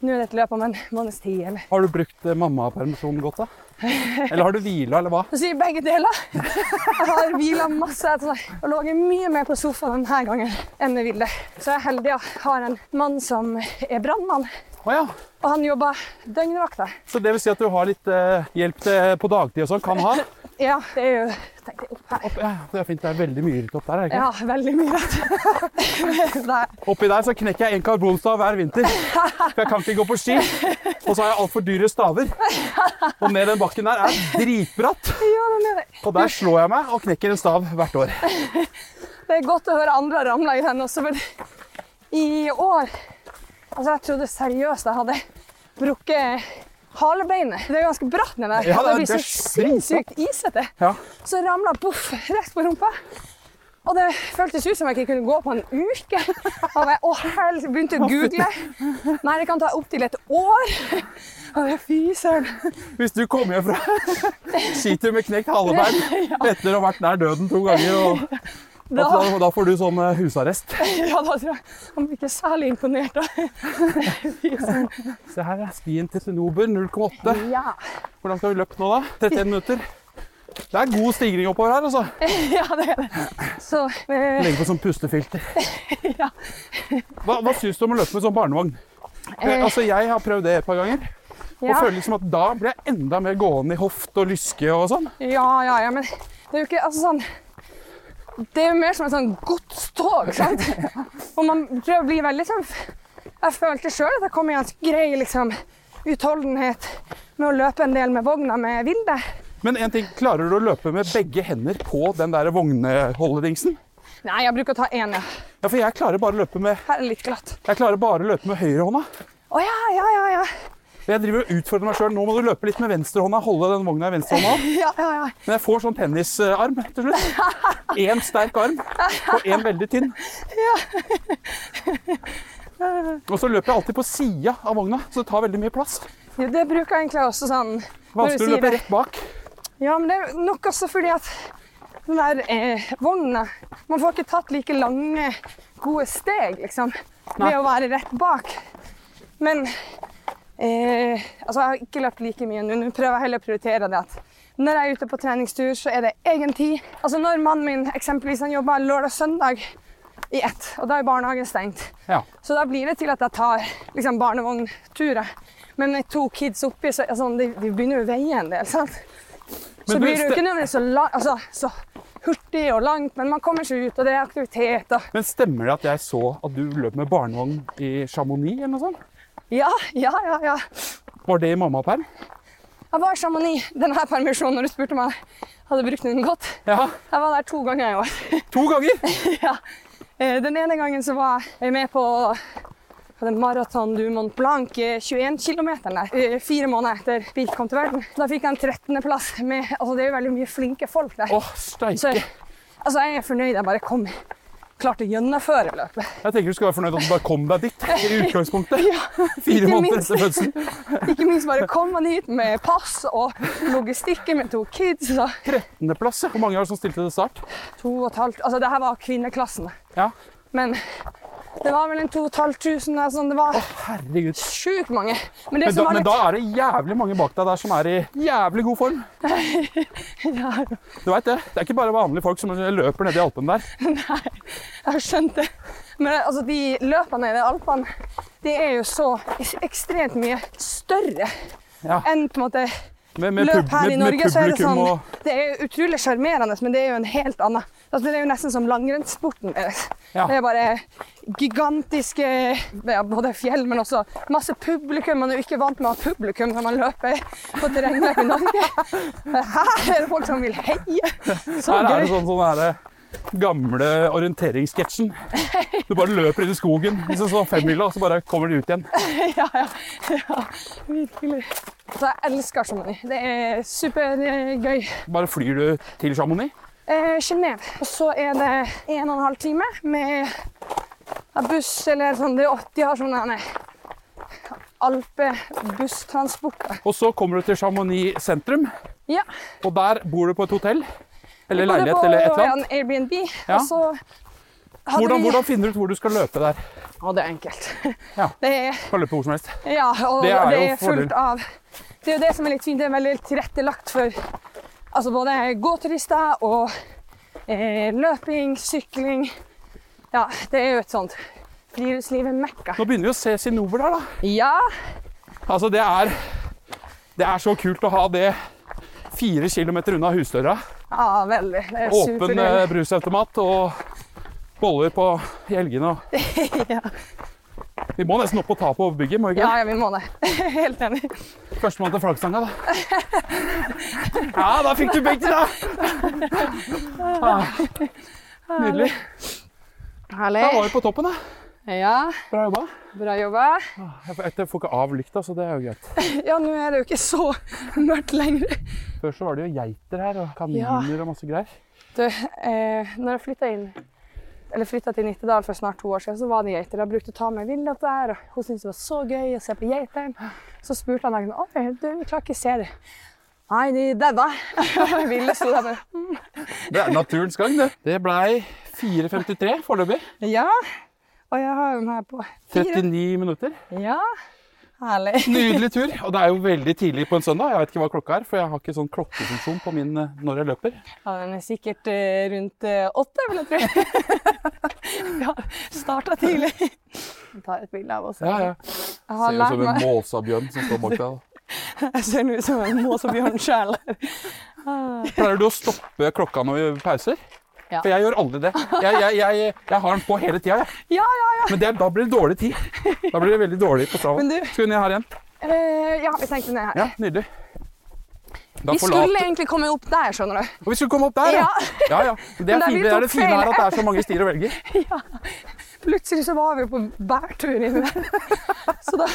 Speaker 2: nå er det et løp om en måneds tid, eller
Speaker 1: Har du brukt eh, mammapermisjonen godt, da? Eller har du hvila, eller hva?
Speaker 2: Så sier jeg begge deler. Jeg har hvila masse etter seg og ligget mye mer på sofaen denne gangen enn jeg ville. Så jeg er heldig og har en mann som er brannmann,
Speaker 1: Å ja.
Speaker 2: og han jobber døgnvakta.
Speaker 1: Så det vil si at du har litt eh, hjelp til, på dagtid og sånn? Kan ha?
Speaker 2: Ja, det er jo tenkte jeg, opp her.
Speaker 1: Opp, ja, det er fint. Det er veldig mye rett opp der. er det Ikke?
Speaker 2: Ja, veldig mye rett. Der.
Speaker 1: Oppi der så knekker jeg en karbonstav hver vinter. For jeg kan ikke gå på ski. Og så har jeg altfor dyre staver. Og ned den bakken der er dritbratt.
Speaker 2: Ja, den er det.
Speaker 1: Og der slår jeg meg og knekker en stav hvert år.
Speaker 2: Det er godt å høre andre ramle i den også, for i år Altså, jeg trodde seriøst jeg hadde brukket halebeinet. Det er jo ganske bratt ned der.
Speaker 1: Ja, det er-
Speaker 2: blir så
Speaker 1: det er
Speaker 2: sinnssykt isete.
Speaker 1: Ja.
Speaker 2: Så ramla poff rett på rumpa. Og det føltes ut som jeg ikke kunne gå på en uke. Og jeg å, hel, begynte å google. Nei, det kan ta opptil et år. Og det, fy søren.
Speaker 1: Hvis du kommer hjem fra skitur med knekt halebein etter å ha vært nær døden to ganger, og
Speaker 2: Da,
Speaker 1: da, da får du sånn eh, husarrest.
Speaker 2: ja, da tror jeg han blir ikke særlig imponert. Da. Fy søren.
Speaker 1: Se her er stien til Senober 0,8.
Speaker 2: Ja.
Speaker 1: Hvordan skal vi løpe nå, da? 31 minutter. Det er god stigning oppover her, altså.
Speaker 2: ja, det er det. Så eh,
Speaker 1: Legge på sånn pustefilter.
Speaker 2: ja.
Speaker 1: Hva, hva syns du om å løpe med sånn barnevogn? Jeg, altså, jeg har prøvd det et par ganger.
Speaker 2: Eh.
Speaker 1: Og
Speaker 2: ja.
Speaker 1: føler liksom at da blir jeg enda mer gående i hoft og lyske og sånn.
Speaker 2: Ja, ja, ja, men det er jo ikke altså, sånn Det er jo mer som et sånn godstog, sant? Og man prøver å bli veldig sånn Jeg følte sjøl at jeg kom i ganske grei liksom, utholdenhet med å løpe en del med vogna med Vilde.
Speaker 1: Men en ting, klarer du å løpe med begge hender på den der vognholderdingsen?
Speaker 2: Nei, jeg bruker å ta én, ja.
Speaker 1: Ja, for jeg klarer bare å løpe med,
Speaker 2: Her er det litt glatt.
Speaker 1: jeg klarer bare å løpe med høyrehånda.
Speaker 2: Å ja, ja, ja, ja.
Speaker 1: Jeg driver og utfordrer meg sjøl. Nå må du løpe litt med venstrehånda. Holde den vogna i venstrehånda.
Speaker 2: ja, ja, ja.
Speaker 1: Men jeg får sånn tennisarm til slutt. Én sterk arm og én veldig tynn. Og så løper jeg alltid på sida av vogna, så det tar veldig mye plass.
Speaker 2: Jo, det bruker jeg egentlig også sånn når du
Speaker 1: Vanskelig å
Speaker 2: sier
Speaker 1: løpe
Speaker 2: det.
Speaker 1: rett bak.
Speaker 2: Ja, men det er jo nok også fordi at den der eh, vogna Man får ikke tatt like lange, gode steg, liksom, ved å være rett bak. Men eh, altså, jeg har ikke løpt like mye nå. Nå prøver jeg heller å prioritere det at når jeg er ute på treningstur, så er det egen tid. Altså når mannen min eksempelvis han jobber lørdag og søndag i ett, og da er barnehagen stengt,
Speaker 1: Ja.
Speaker 2: så da blir det til at jeg tar liksom, barnevognturer. Men med to kids oppi, så altså, de, de begynner jo å veie en del. sant? Så
Speaker 1: Men du,
Speaker 2: blir det jo
Speaker 1: ste-
Speaker 2: ikke nødvendigvis så, la- altså, så hurtig og langt, men man kommer seg ut, og det er aktivitet. Og...
Speaker 1: Men stemmer det at jeg så at du løp med barnevogn i Chamonix eller noe sånt?
Speaker 2: Ja, ja, ja. ja.
Speaker 1: Var det i mammaperm?
Speaker 2: Jeg var i Chamonix denne permisjonen når du spurte meg. Hadde brukt den godt.
Speaker 1: Ja.
Speaker 2: Jeg var der to ganger i år.
Speaker 1: To ganger!
Speaker 2: ja. Eh, Den ene gangen så var jeg med på på den Marathon du Mont Blanc, eh, 21 km der, eh, fire måneder etter Birk kom til verden. Da fikk jeg en 13.-plass. med, altså Det er jo veldig mye flinke folk der.
Speaker 1: Åh, steike.
Speaker 2: Så jeg, altså jeg er fornøyd. Jeg bare kom klarte å gjennomføre løpet.
Speaker 1: Jeg tenker du skulle være fornøyd at du bare kom deg dit i utgangspunktet. Fire
Speaker 2: ikke
Speaker 1: måneder
Speaker 2: minst.
Speaker 1: etter fødselen.
Speaker 2: Ikke minst bare kom man hit med pass og logistikken med to kids. Og
Speaker 1: Trettendeplass, ja. Hvor mange var det som stilte til start?
Speaker 2: to og et halvt, altså det her var kvinneklassen,
Speaker 1: Ja.
Speaker 2: men det var vel en 2500. der, sånn, det var
Speaker 1: Herregud.
Speaker 2: sjukt mange. Men det
Speaker 1: Men da,
Speaker 2: som var
Speaker 1: men
Speaker 2: litt
Speaker 1: da er det jævlig mange bak deg der som er i jævlig god form.
Speaker 2: Ja,
Speaker 1: Du vet det. Det er ikke bare vanlige folk som løper nedi Alpene der.
Speaker 2: Jeg har skjønt det. Men altså, de løpene i de Alpene de er jo så ekstremt mye større
Speaker 1: Ja.
Speaker 2: enn på en måte
Speaker 1: Med, med,
Speaker 2: løp
Speaker 1: pub,
Speaker 2: her
Speaker 1: med,
Speaker 2: i
Speaker 1: med
Speaker 2: Norge. så er Det
Speaker 1: publikum
Speaker 2: sånn,
Speaker 1: og
Speaker 2: det er jo utrolig sjarmerende, men det er jo en helt annen Altså, det er jo nesten som langrennssporten. deres.
Speaker 1: Ja.
Speaker 2: Det er bare gigantiske ja, både fjell, men også masse publikum. Man er jo ikke vant med å ha publikum når man løper på terrengløp i Norge. Men Her er det folk som vil heie! Så
Speaker 1: Her er det
Speaker 2: gøy.
Speaker 1: sånn sånn derre gamle orienteringssketsjen. Du bare løper inn i skogen, hvis det står femmila, så bare kommer de ut igjen.
Speaker 2: Ja, ja. ja. Virkelig. Så jeg elsker Chamonix. Det er supergøy.
Speaker 1: Bare flyr du til Chamonix.
Speaker 2: eh, Genève. Og så er det en og en halv time med ja, buss eller sånn. Det er åt- De har sånne nei, alpebusstransporter.
Speaker 1: Og så kommer du til Chamonix sentrum,
Speaker 2: Ja.
Speaker 1: og der bor du på et hotell. Eller
Speaker 2: både
Speaker 1: leilighet
Speaker 2: på
Speaker 1: eller et eller
Speaker 2: en
Speaker 1: annet.
Speaker 2: Airbnb.
Speaker 1: Ja.
Speaker 2: Og så hadde
Speaker 1: Hvordan,
Speaker 2: vi-
Speaker 1: hvordan finner du ut hvor du skal løpe der?
Speaker 2: Å, det er enkelt.
Speaker 1: Ja.
Speaker 2: Det er,
Speaker 1: Kan løpe hvor som helst.
Speaker 2: ja, og
Speaker 1: Det
Speaker 2: det
Speaker 1: er
Speaker 2: er,
Speaker 1: jo
Speaker 2: fullt
Speaker 1: fordelen.
Speaker 2: av Det er jo det som er litt fint. Det er veldig tilrettelagt for altså både gåturister og eh, løping, sykling. Ja, det er jo et sånt friluftslivet-mekka.
Speaker 1: Nå begynner vi å se sinover der, da.
Speaker 2: Ja,
Speaker 1: Altså, det er Det er så kult å ha det fire kilometer unna husdøra.
Speaker 2: Ja, veldig. Det er
Speaker 1: Åpen eh,
Speaker 2: superdeilig.
Speaker 1: brusautomat og boller på i helgene. og-
Speaker 2: Ja.
Speaker 1: Vi må nesten opp og ta på bygget, må vi
Speaker 2: ja,
Speaker 1: ikke?
Speaker 2: ja, vi må det. Helt enig.
Speaker 1: det? Førstemann til flaggstanga, da. Ja, da fikk du begge, da! Ah, nydelig.
Speaker 2: Herlig.
Speaker 1: Da var vi på toppen, da.
Speaker 2: Ja,
Speaker 1: Bra jobba. Ah,
Speaker 2: bra jobba.
Speaker 1: Jeg får- Jeg får ikke av lykta, så det er jo greit.
Speaker 2: Ja, nå er det jo ikke så mørkt lenger.
Speaker 1: Før så var det jo geiter her, og kaniner og masse greier.
Speaker 2: Du, eh, når jeg flytta inn eller flyttet til Nittedal for snart to år siden, så var det geiter. Jeg brukte å ta med Vilde opp der, og hun syntes det var så gøy å se på geitene. Så spurte han deg sånn du, vi klarer ikke å se dem. Nei, de daua. Vilde sto der bare
Speaker 1: Det er naturens gang, det. Det blei 4.53 foreløpig.
Speaker 2: Ja. Og jeg har den her på fire.
Speaker 1: 39 minutter.
Speaker 2: Ja. Herlig.
Speaker 1: Nydelig tur. Og det er jo veldig tidlig på en søndag. Jeg vet ikke hva klokka er, for jeg har ikke sånn klokkefunksjon på min eh, når jeg løper.
Speaker 2: Ja, den er sikkert eh, rundt eh, åtte, vil jeg tro. ja, starta tidlig. Jeg tar et bilde av oss.
Speaker 1: Ja, ja.
Speaker 2: Jeg har lært meg
Speaker 1: målsabjørn som står bak deg.
Speaker 2: Jeg ser nå ut som en måsebjørn sjæl.
Speaker 1: Pleier du å stoppe klokka når vi gjør pauser?
Speaker 2: Ja.
Speaker 1: For jeg gjør aldri det. Jeg, jeg, jeg, jeg har den på hele tida, jeg.
Speaker 2: Ja, ja, ja.
Speaker 1: Men det, er- da blir det dårlig tid. Da blir det veldig dårlig på Strava.
Speaker 2: Men du-
Speaker 1: Skal vi ned her igjen?
Speaker 2: Eh, ja, vi tenkte ned her.
Speaker 1: Ja, nydelig. Da
Speaker 2: Vi
Speaker 1: forlater-
Speaker 2: skulle egentlig komme opp der, skjønner du.
Speaker 1: Og vi skulle komme opp der, ja. ja, ja. Det,
Speaker 2: Men
Speaker 1: er
Speaker 2: da
Speaker 1: fint,
Speaker 2: vi
Speaker 1: det er det
Speaker 2: tok
Speaker 1: fine her
Speaker 2: feil.
Speaker 1: at det er så mange stier å velge.
Speaker 2: Plutselig så var vi jo på bærtur inni der. Så da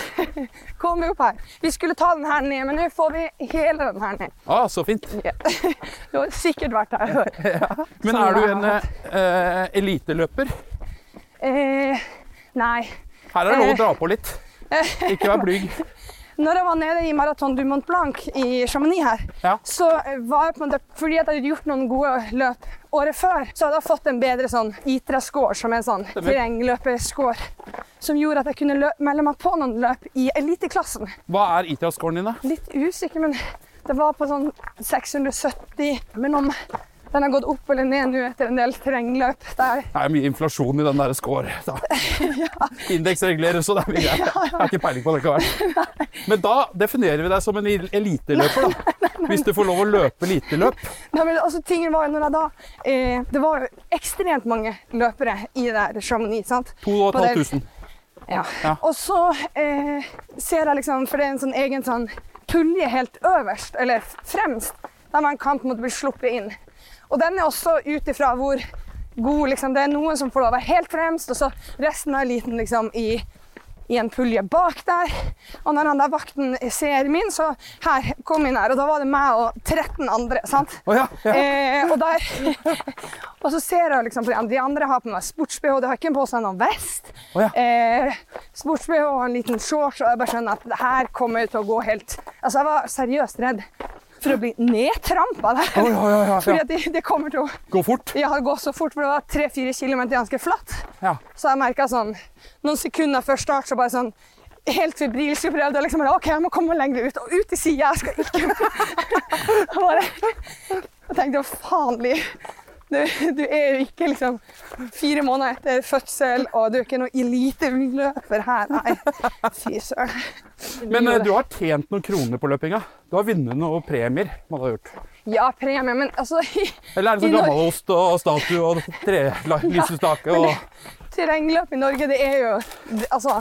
Speaker 2: kom vi opp her. Vi skulle ta den her ned, men nå får vi hele den her ned.
Speaker 1: Ah, så fint.
Speaker 2: Ja. Du har sikkert vært der før.
Speaker 1: Men
Speaker 2: Sånn
Speaker 1: er du
Speaker 2: er
Speaker 1: en
Speaker 2: det.
Speaker 1: eh, eliteløper?
Speaker 2: Eh, nei.
Speaker 1: Her er det lov å dra på litt. Ikke vær blyg.
Speaker 2: Når jeg var nede i Marathon du Mont Blanc i Chamonix her,
Speaker 1: Ja.
Speaker 2: så eh, var jeg på en måte, fordi at jeg hadde gjort noen gode løp året før, så hadde jeg fått en bedre sånn ITRA-score, som er en sånn terrengløperscore, som gjorde at jeg kunne lø- melde meg på noen løp i eliteklassen.
Speaker 1: Hva er ITRA-scoren din, da?
Speaker 2: Litt usikker, men det var på sånn 670. Men om den har gått opp eller ned nå etter en del terrengløp der
Speaker 1: Det er mye inflasjon i den der score. Da. Indeks reguleres, så det er mye greit. Jeg har ikke peiling på det likevel. Men da definerer vi deg som en el- eliteløper, da. Hvis du får lov å løpe eliteløp.
Speaker 2: Nei, men altså, tingen var jo når jeg da, eh, Det var jo ekstremt mange løpere i det der Chamonix. sant? På det-
Speaker 1: 2500.
Speaker 2: Ja.
Speaker 1: Ja.
Speaker 2: Og så eh, ser jeg liksom, for det er en sånn egen sånn pulje helt øverst, eller f- fremst, der man kan på en måte bli sluppet inn. Og den er også ut ifra hvor god liksom, Det er noen som får lov å være helt fremst, og så resten av eliten liksom i i en pulje bak der. Og når han der vakten ser min, så her, kom inn her. Og da var det meg og 13 andre. sant?
Speaker 1: Å ja, ja.
Speaker 2: Eh, og, der, og så ser jeg liksom på de andre. De andre har på meg sports-BH. De har ikke på seg noen vest.
Speaker 1: Å ja.
Speaker 2: eh, sports-BH og en liten shorts. Og jeg bare skjønner at det her kommer jeg til å gå helt Altså, jeg var seriøst redd for å bli nedtrampa der.
Speaker 1: Oi, oi, oi, oi,
Speaker 2: Fordi
Speaker 1: ja.
Speaker 2: at det de kommer til å
Speaker 1: Gå fort.
Speaker 2: ja, gå så fort, for det var 3-4 km ganske flatt.
Speaker 1: Ja.
Speaker 2: Så jeg merka sånn noen sekunder før start, så bare sånn Helt febrilsk. Jeg prøvde å liksom bare, OK, jeg må komme lenger ut. Og ut til sida. Jeg skal ikke Jeg bare Jeg tenkte å faen bli Du, du er jo ikke liksom fire måneder etter fødsel, og du er ikke noen eliteløper her. Nei, fy søren.
Speaker 1: Men eh, du har tjent noen kroner på løpinga. Du har vunnet noen premier. man har gjort.
Speaker 2: Ja, premie, men altså
Speaker 1: Eller er det
Speaker 2: I
Speaker 1: sånn
Speaker 2: Norge-
Speaker 1: gammalost og statue og trelysestake og
Speaker 2: Terrengløp i Norge, det er jo det- Altså,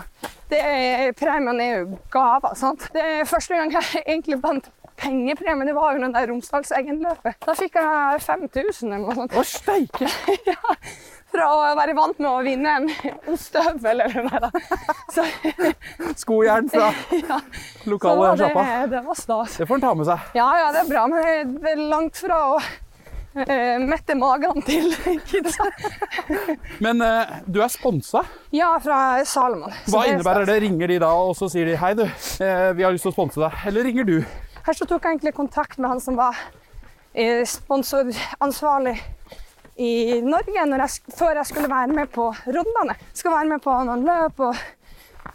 Speaker 2: det er, premien er jo gaver, sant? Det er første gang jeg egentlig vant pengepremie, det var jo den der Romsdalseggen-løpet. Da fikk jeg 5000 eller noe sånt.
Speaker 1: Å, steike!
Speaker 2: Fra å være vant med å vinne en ostehøvel eller noe da. Så,
Speaker 1: Skojern fra
Speaker 2: ja, så
Speaker 1: lokale
Speaker 2: var
Speaker 1: sjappa.
Speaker 2: det, det var stas.
Speaker 1: Det får en ta med seg.
Speaker 2: Ja, ja, det er bra, men det er langt fra å eh, mette magen til kidsa.
Speaker 1: Men eh, du er sponsa.
Speaker 2: Ja, fra Salomon. Så
Speaker 1: Hva
Speaker 2: det er
Speaker 1: innebærer det? Ringer de da og så sier de hei, du, eh, vi har lyst til å sponse deg. Eller ringer du?
Speaker 2: Her så tok jeg egentlig kontakt med han som var eh, sponsoransvarlig i Norge når jeg, sk- før jeg skulle være med på rundene. Skal være med på noen løp og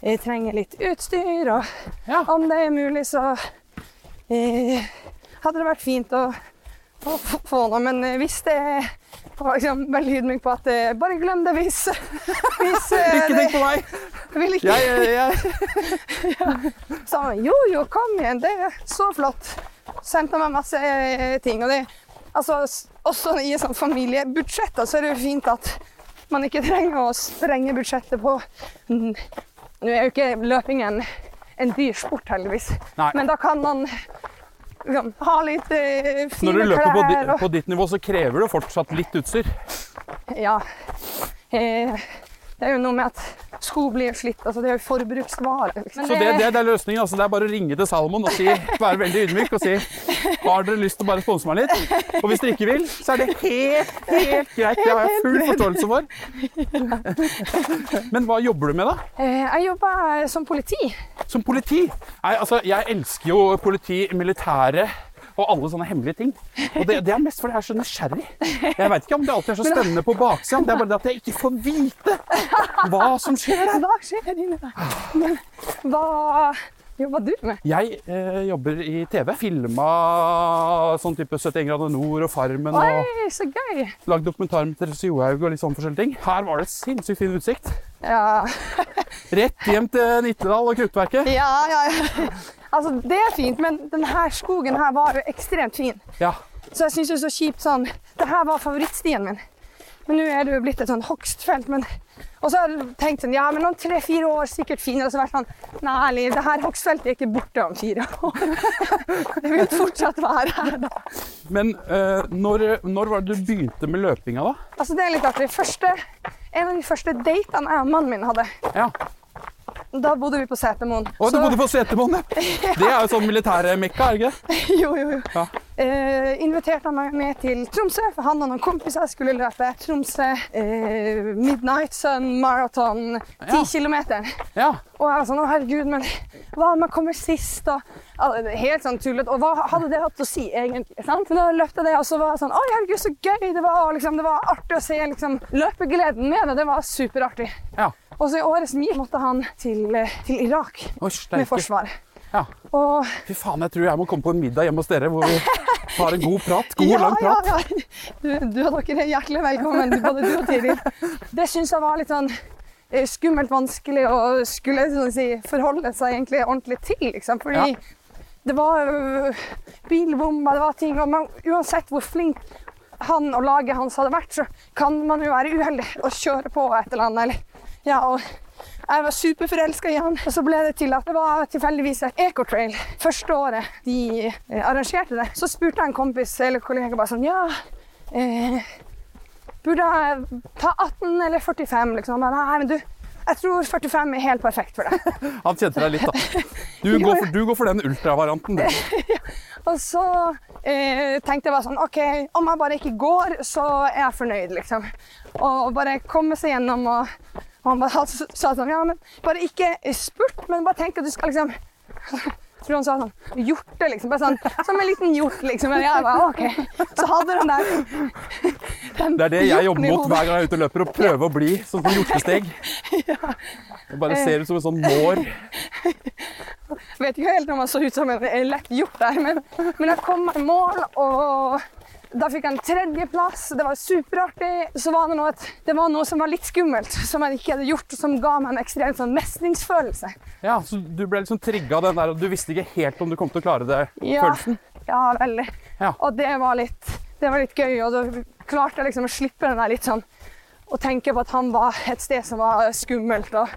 Speaker 2: jeg trenger litt utstyr, og
Speaker 1: Ja.
Speaker 2: om det er mulig, så eh, hadde det vært fint å, å f- få noe. Men eh, hvis det er var liksom veldig ydmyk på at eh, Bare glem det hvis, hvis eh,
Speaker 1: Ikke tenk på meg!
Speaker 2: det vil ikke
Speaker 1: Jeg, jeg, jeg.
Speaker 2: sa han jo, jo, kom igjen, det er så flott. Sendte meg masse eh, ting. Og det, altså, s- også i sånn familiebudsjetter så altså, er det jo fint at man ikke trenger å sprenge budsjettet på mm, Nå er jo ikke løping en, en dyr sport, heldigvis,
Speaker 1: Nei.
Speaker 2: men da kan man liksom, ha litt eh, fine
Speaker 1: Når du løper på,
Speaker 2: klær.
Speaker 1: di, på ditt nivå, så krever du fortsatt litt utstyr.
Speaker 2: Ja. Eh, det er jo noe med at sko blir slitt. Altså, det er jo forbruksvare. liksom.
Speaker 1: Så det, det, det er løsningen. Altså. Det er bare å ringe til Salomon og si, være veldig ydmyk og si har dere lyst til å bare sponse meg litt. Og hvis dere ikke vil, så er det helt, helt greit. Det har jeg full forståelse for. Men hva jobber du med, da?
Speaker 2: eh, jeg jobber som politi.
Speaker 1: Som politi? Nei, altså, jeg elsker jo politi, militære og alle sånne hemmelige ting. Og det, det er mest fordi jeg er så nysgjerrig. Jeg veit ikke om det alltid er så spennende på baksiden. Det er bare det at jeg ikke får vite hva som skjer der.
Speaker 2: Hva skjer inni deg? Men hva jobber du med?
Speaker 1: Jeg eh, jobber i TV. Filma sånn type 71 grader nord og Farmen. og
Speaker 2: Oi, så gøy!
Speaker 1: Lagd dokumentar med Therese Johaug og litt sånn forskjellige ting. Her var det sinnssykt fin utsikt.
Speaker 2: Ja,
Speaker 1: Rett hjem til Nittedal og Kruttverket.
Speaker 2: ja, ja. ja. Altså, det er fint, men denne skogen her var jo ekstremt fin.
Speaker 1: Ja.
Speaker 2: Så jeg syns det er så kjipt sånn Det her var favorittstien min. Men nå er det jo blitt et sånn hogstfelt. Men... Og så har jeg tenkt sånn Ja, men om tre-fire år sikkert finere. Og så har jeg vært sånn Nei, ærlig, det her hogstfeltet er ikke borte om fire år. det vil fortsatt være her da.
Speaker 1: Men eh, når, når var det du begynte med løpinga, da?
Speaker 2: Altså, det er litt artig. Første, en av de første datene jeg og mannen min hadde
Speaker 1: Ja.
Speaker 2: Da bodde vi på Setermoen.
Speaker 1: Å, du
Speaker 2: Så-
Speaker 1: bodde på Setermoen, ja. Det er jo sånn militærmekka, er det ikke? det?
Speaker 2: jo, jo, jo.
Speaker 1: Ja.
Speaker 2: Eh, inviterte han meg med til Tromsø, for han og noen kompiser skulle løpe Tromsø eh, Midnight Sun Marathon 10
Speaker 1: Ja.
Speaker 2: kilometer.
Speaker 1: Ja.
Speaker 2: Og jeg var sånn, å herregud, men hva om jeg kommer sist? Og, Ja, det er helt sånn tullet. Og hva hadde det hatt å si, egentlig? Sant? Men da løpte jeg det, og så var jeg sånn, oi, herregud, så gøy det var. Og liksom, det var artig å se liksom, løpegleden med det. Det var superartig.
Speaker 1: ja.
Speaker 2: Og så i året som gikk, måtte han til, eh, til Irak
Speaker 1: Å,
Speaker 2: med
Speaker 1: steike.
Speaker 2: Forsvaret.
Speaker 1: Ja.
Speaker 2: Og
Speaker 1: Fy faen, jeg tror jeg må komme på en middag hjemme hos dere hvor vi har en god prat. God,
Speaker 2: ja,
Speaker 1: lang prat.
Speaker 2: Ja, ja. Du, du og dere er hjertelig velkommen, både du og Tiril. Det syns jeg var litt sånn eh, skummelt vanskelig å skulle sånn å si, forholde seg egentlig ordentlig til, liksom. Fordi
Speaker 1: Ja.
Speaker 2: det var ø, bilbomber, det var ting og man, Uansett hvor flink han og laget hans hadde vært, så kan man jo være uheldig og kjøre på et eller annet. Eller, ja, og jeg var superforelska i han, og så ble det til at det var tilfeldigvis et ecotrail. Første året de eh, arrangerte det, så spurte jeg en kompis eller kollega bare sånn Ja, eh, burde jeg ta 18 eller 45? Liksom. Han ba, Nei, men du, jeg tror 45 er helt perfekt for deg.
Speaker 1: Han kjente deg litt, da. Du går for, du går for den ultravarianten, du.
Speaker 2: Og så eh, tenkte jeg bare sånn OK, om jeg bare ikke går, så er jeg fornøyd, liksom. Og bare komme seg gjennom og, og han bare sa sånn Ja, men bare ikke spurt, men bare tenk at du skal liksom jeg tror han sa sånn Hjorte, liksom. Bare sånn, som en liten hjort, liksom. Og jeg bare OK. Så hadde han der den
Speaker 1: Det er det jeg
Speaker 2: hjorten
Speaker 1: jobber
Speaker 2: i
Speaker 1: mot
Speaker 2: hodet.
Speaker 1: hver gang jeg er ute og løper, å prøve å bli sånn som hjortesteg. Jeg bare ser ut som en sånn mår.
Speaker 2: Jeg vet ikke helt om han så ut som en lett hjort der, men, men jeg kom meg i mål, og Da fikk han tredjeplass. Det var superartig. Så var det noe, at, det var noe som var litt skummelt, som jeg ikke hadde gjort, og som ga meg en ekstrem sånn mestringsfølelse.
Speaker 1: Ja, så du ble liksom trigga av den der, og du visste ikke helt om du kom til å klare det?
Speaker 2: Ja,
Speaker 1: Følelsen?
Speaker 2: Ja, veldig.
Speaker 1: Ja.
Speaker 2: Og det var, litt, det var litt gøy. Og da klarte jeg liksom å slippe den der litt sånn Å tenke på at han var et sted som var eh, skummelt. Og,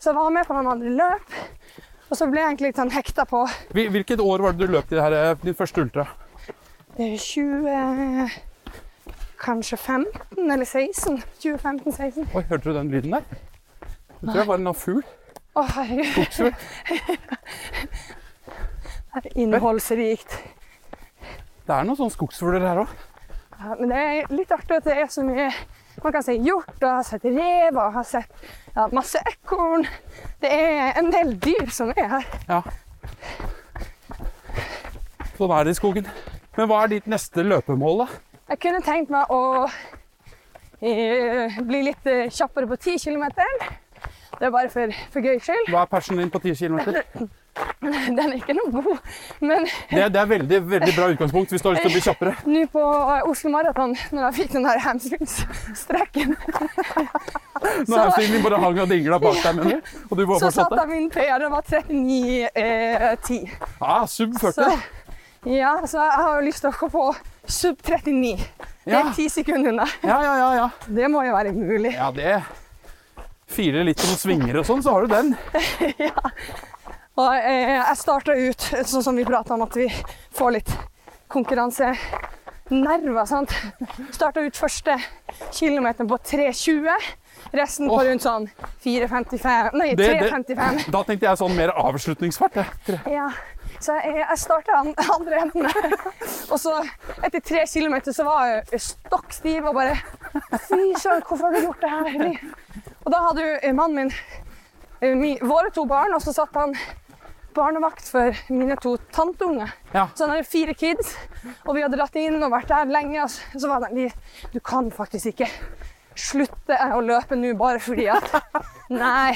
Speaker 2: så jeg var med på noen andre løp. Og så ble jeg egentlig litt sånn hekta på
Speaker 1: Hvil- Hvilket år var det du løp til det her, eh, din første ultra?
Speaker 2: eh, 20 Kanskje 15 eller 16. 2015-16.
Speaker 1: Oi, hørte du den lyden der? Det tror jeg var en eller annen fugl.
Speaker 2: Å, herregud.
Speaker 1: Buksfugl.
Speaker 2: Det er innholdsrikt.
Speaker 1: Det er noen sånne skogsfugler her òg.
Speaker 2: Ja, men det er litt artig at det er så mye Man kan si hjort, og jeg har sett rev, og jeg har sett ja, masse ekorn. Det er en del dyr som er her.
Speaker 1: Ja. Sånn er det i skogen. Men hva er ditt neste løpemål, da?
Speaker 2: Jeg kunne tenkt meg å eh, bli litt eh, kjappere på 10 km. Det er bare for, for gøy skyld.
Speaker 1: Hva er persen din på 10 km?
Speaker 2: Den er ikke noe god. Men
Speaker 1: Det, det er veldig, veldig bra utgangspunkt hvis du har lyst til å bli kjappere.
Speaker 2: nå på eh, Oslo Maraton, når jeg fikk den der hamstringsstrekken,
Speaker 1: Nå er hamstringen din bare hang og dingla bak deg, mener du? Og du bare
Speaker 2: så satt
Speaker 1: fortsatte?
Speaker 2: jeg min PR, den var 39,10. Eh, 10.
Speaker 1: Ja, Ah, sub 40.
Speaker 2: Så, ja, så jeg har jo lyst til å gå på sub 39. Det
Speaker 1: Ja.
Speaker 2: er ti sekunder unna.
Speaker 1: Ja, ja, ja. ja.
Speaker 2: Det må jo være mulig.
Speaker 1: ja det Fire litt om svinger og sånn, så har du den.
Speaker 2: Og eh, jeg starta ut sånn som vi prata om, at vi får litt konkurransenerver. sant? Starta ut første kilometeren på 3,20. Resten på
Speaker 1: Åh.
Speaker 2: rundt sånn 4,55 Nei,
Speaker 1: Det- det-
Speaker 2: 3,55.
Speaker 1: Da tenkte jeg sånn mer avslutningsfart. Jeg. Tre-
Speaker 2: Ja. Så jeg, jeg starta den andre enden. Og så, etter tre kilometer, så var jeg stokk stiv og bare Fy søren, hvorfor har du gjort det her? Eli?» Og da hadde jo eh, mannen min eh, mi, våre to barn, og så satt han barnevakt for mine to tanteunger.
Speaker 1: Ja.
Speaker 2: Så han hadde fire kids, og vi hadde dratt inn og vært der lenge. Og så- så var han de, Du kan faktisk ikke slutte å løpe nå bare fordi at Nei.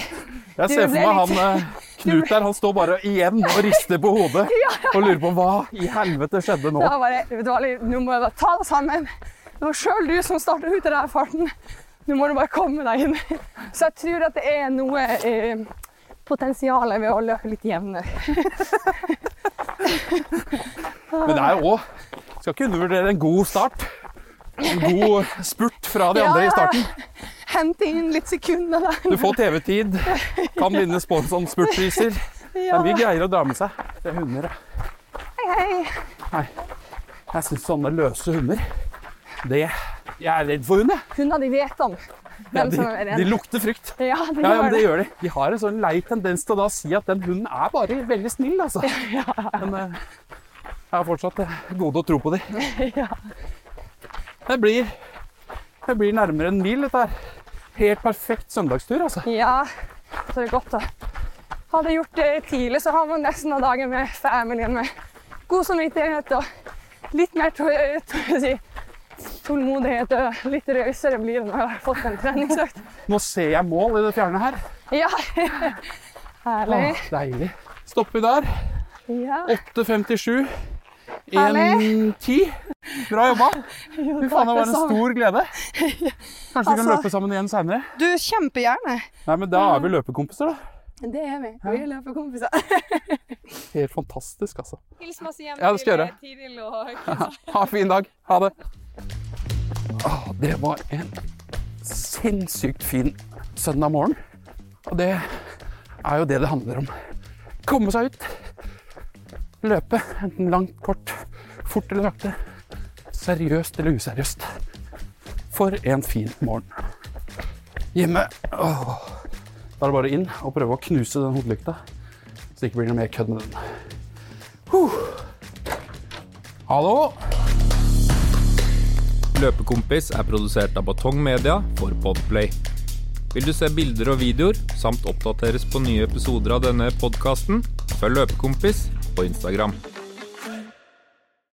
Speaker 1: Jeg
Speaker 2: Du
Speaker 1: ser for
Speaker 2: ble
Speaker 1: meg
Speaker 2: litt-
Speaker 1: han eh, Knut der, han står bare igjen og rister på hodet og lurer på hva i helvete skjedde nå.
Speaker 2: Det var bare, det var litt, nå må jeg bare ta det sammen. Det var sjøl du som starta ut i den farten. Nå må du bare komme deg inn. Så jeg tror at det er noe eh, potensial ved å løpe litt jevnere.
Speaker 1: Men det er jo òg Skal ikke undervurdere en god start. En god spurt fra de andre i starten.
Speaker 2: Hente inn litt sekunder der.
Speaker 1: Du får TV-tid, kan vinne sponsorspurtpriser. Det
Speaker 2: Ja.
Speaker 1: er mye greier å dra med seg. Det er hunder, ja.
Speaker 2: Hei, hei.
Speaker 1: Jeg syns sånne løse hunder det, Jeg er redd for hund, jeg.
Speaker 2: Hundene de vet om
Speaker 1: Ja,
Speaker 2: hvem
Speaker 1: de,
Speaker 2: som er
Speaker 1: de
Speaker 2: redd.
Speaker 1: lukter frykt.
Speaker 2: Ja, de
Speaker 1: Ja, ja,
Speaker 2: gjør
Speaker 1: men det
Speaker 2: det.
Speaker 1: gjør de. De har en sånn lei tendens til å da si at den hunden er bare veldig snill, altså. Men eh, jeg har fortsatt eh, gode å tro på dem.
Speaker 2: Ja.
Speaker 1: Det blir, det blir nærmere en mil, dette her. Helt perfekt søndagstur, altså.
Speaker 2: Ja, så det er godt å Hadde jeg gjort det tidlig, så har man resten av dagen med familien med god samvittighet og litt mer tå- tå- hva skal jeg si, tålmodighet og litt rausere blir det når jeg har fått en treningsøkt.
Speaker 1: Nå ser jeg mål i det fjerne her.
Speaker 2: Ja, herlig.
Speaker 1: Åh, deilig. Stopper vi der.
Speaker 2: Ja,
Speaker 1: 8.57.
Speaker 2: Herlig.
Speaker 1: 1.10. Bra jobba. Fy faen, det var en stor glede. Kanskje vi kan
Speaker 2: Altså-
Speaker 1: løpe sammen igjen seinere?
Speaker 2: Du, kjempegjerne.
Speaker 1: Nei, men da er vi løpekompiser, da.
Speaker 2: Det er vi. Vi er løpekompiser.
Speaker 1: Helt fantastisk, altså.
Speaker 2: Hils masse hjem
Speaker 1: Ja, det
Speaker 2: til
Speaker 1: skal jeg gjøre.
Speaker 2: eh, Tiril og
Speaker 1: Ha en fin dag. Ha det. Ah, det var en sinnssykt fin søndag morgen. Og det er jo det det handler om. Komme seg ut. Løpe. Enten langt, kort, fort eller sakte. Seriøst eller useriøst. For en fin morgen. Hjemme åh, Da er det bare inn og prøve å knuse den hodelykta, så det ikke blir noe mer kødd med den. Huh. Hallo!
Speaker 4: Løpekompis er produsert av Batong Media for Podplay. Vil du se bilder og videoer, samt oppdateres på nye episoder av denne podkasten, følg Løpekompis på Instagram.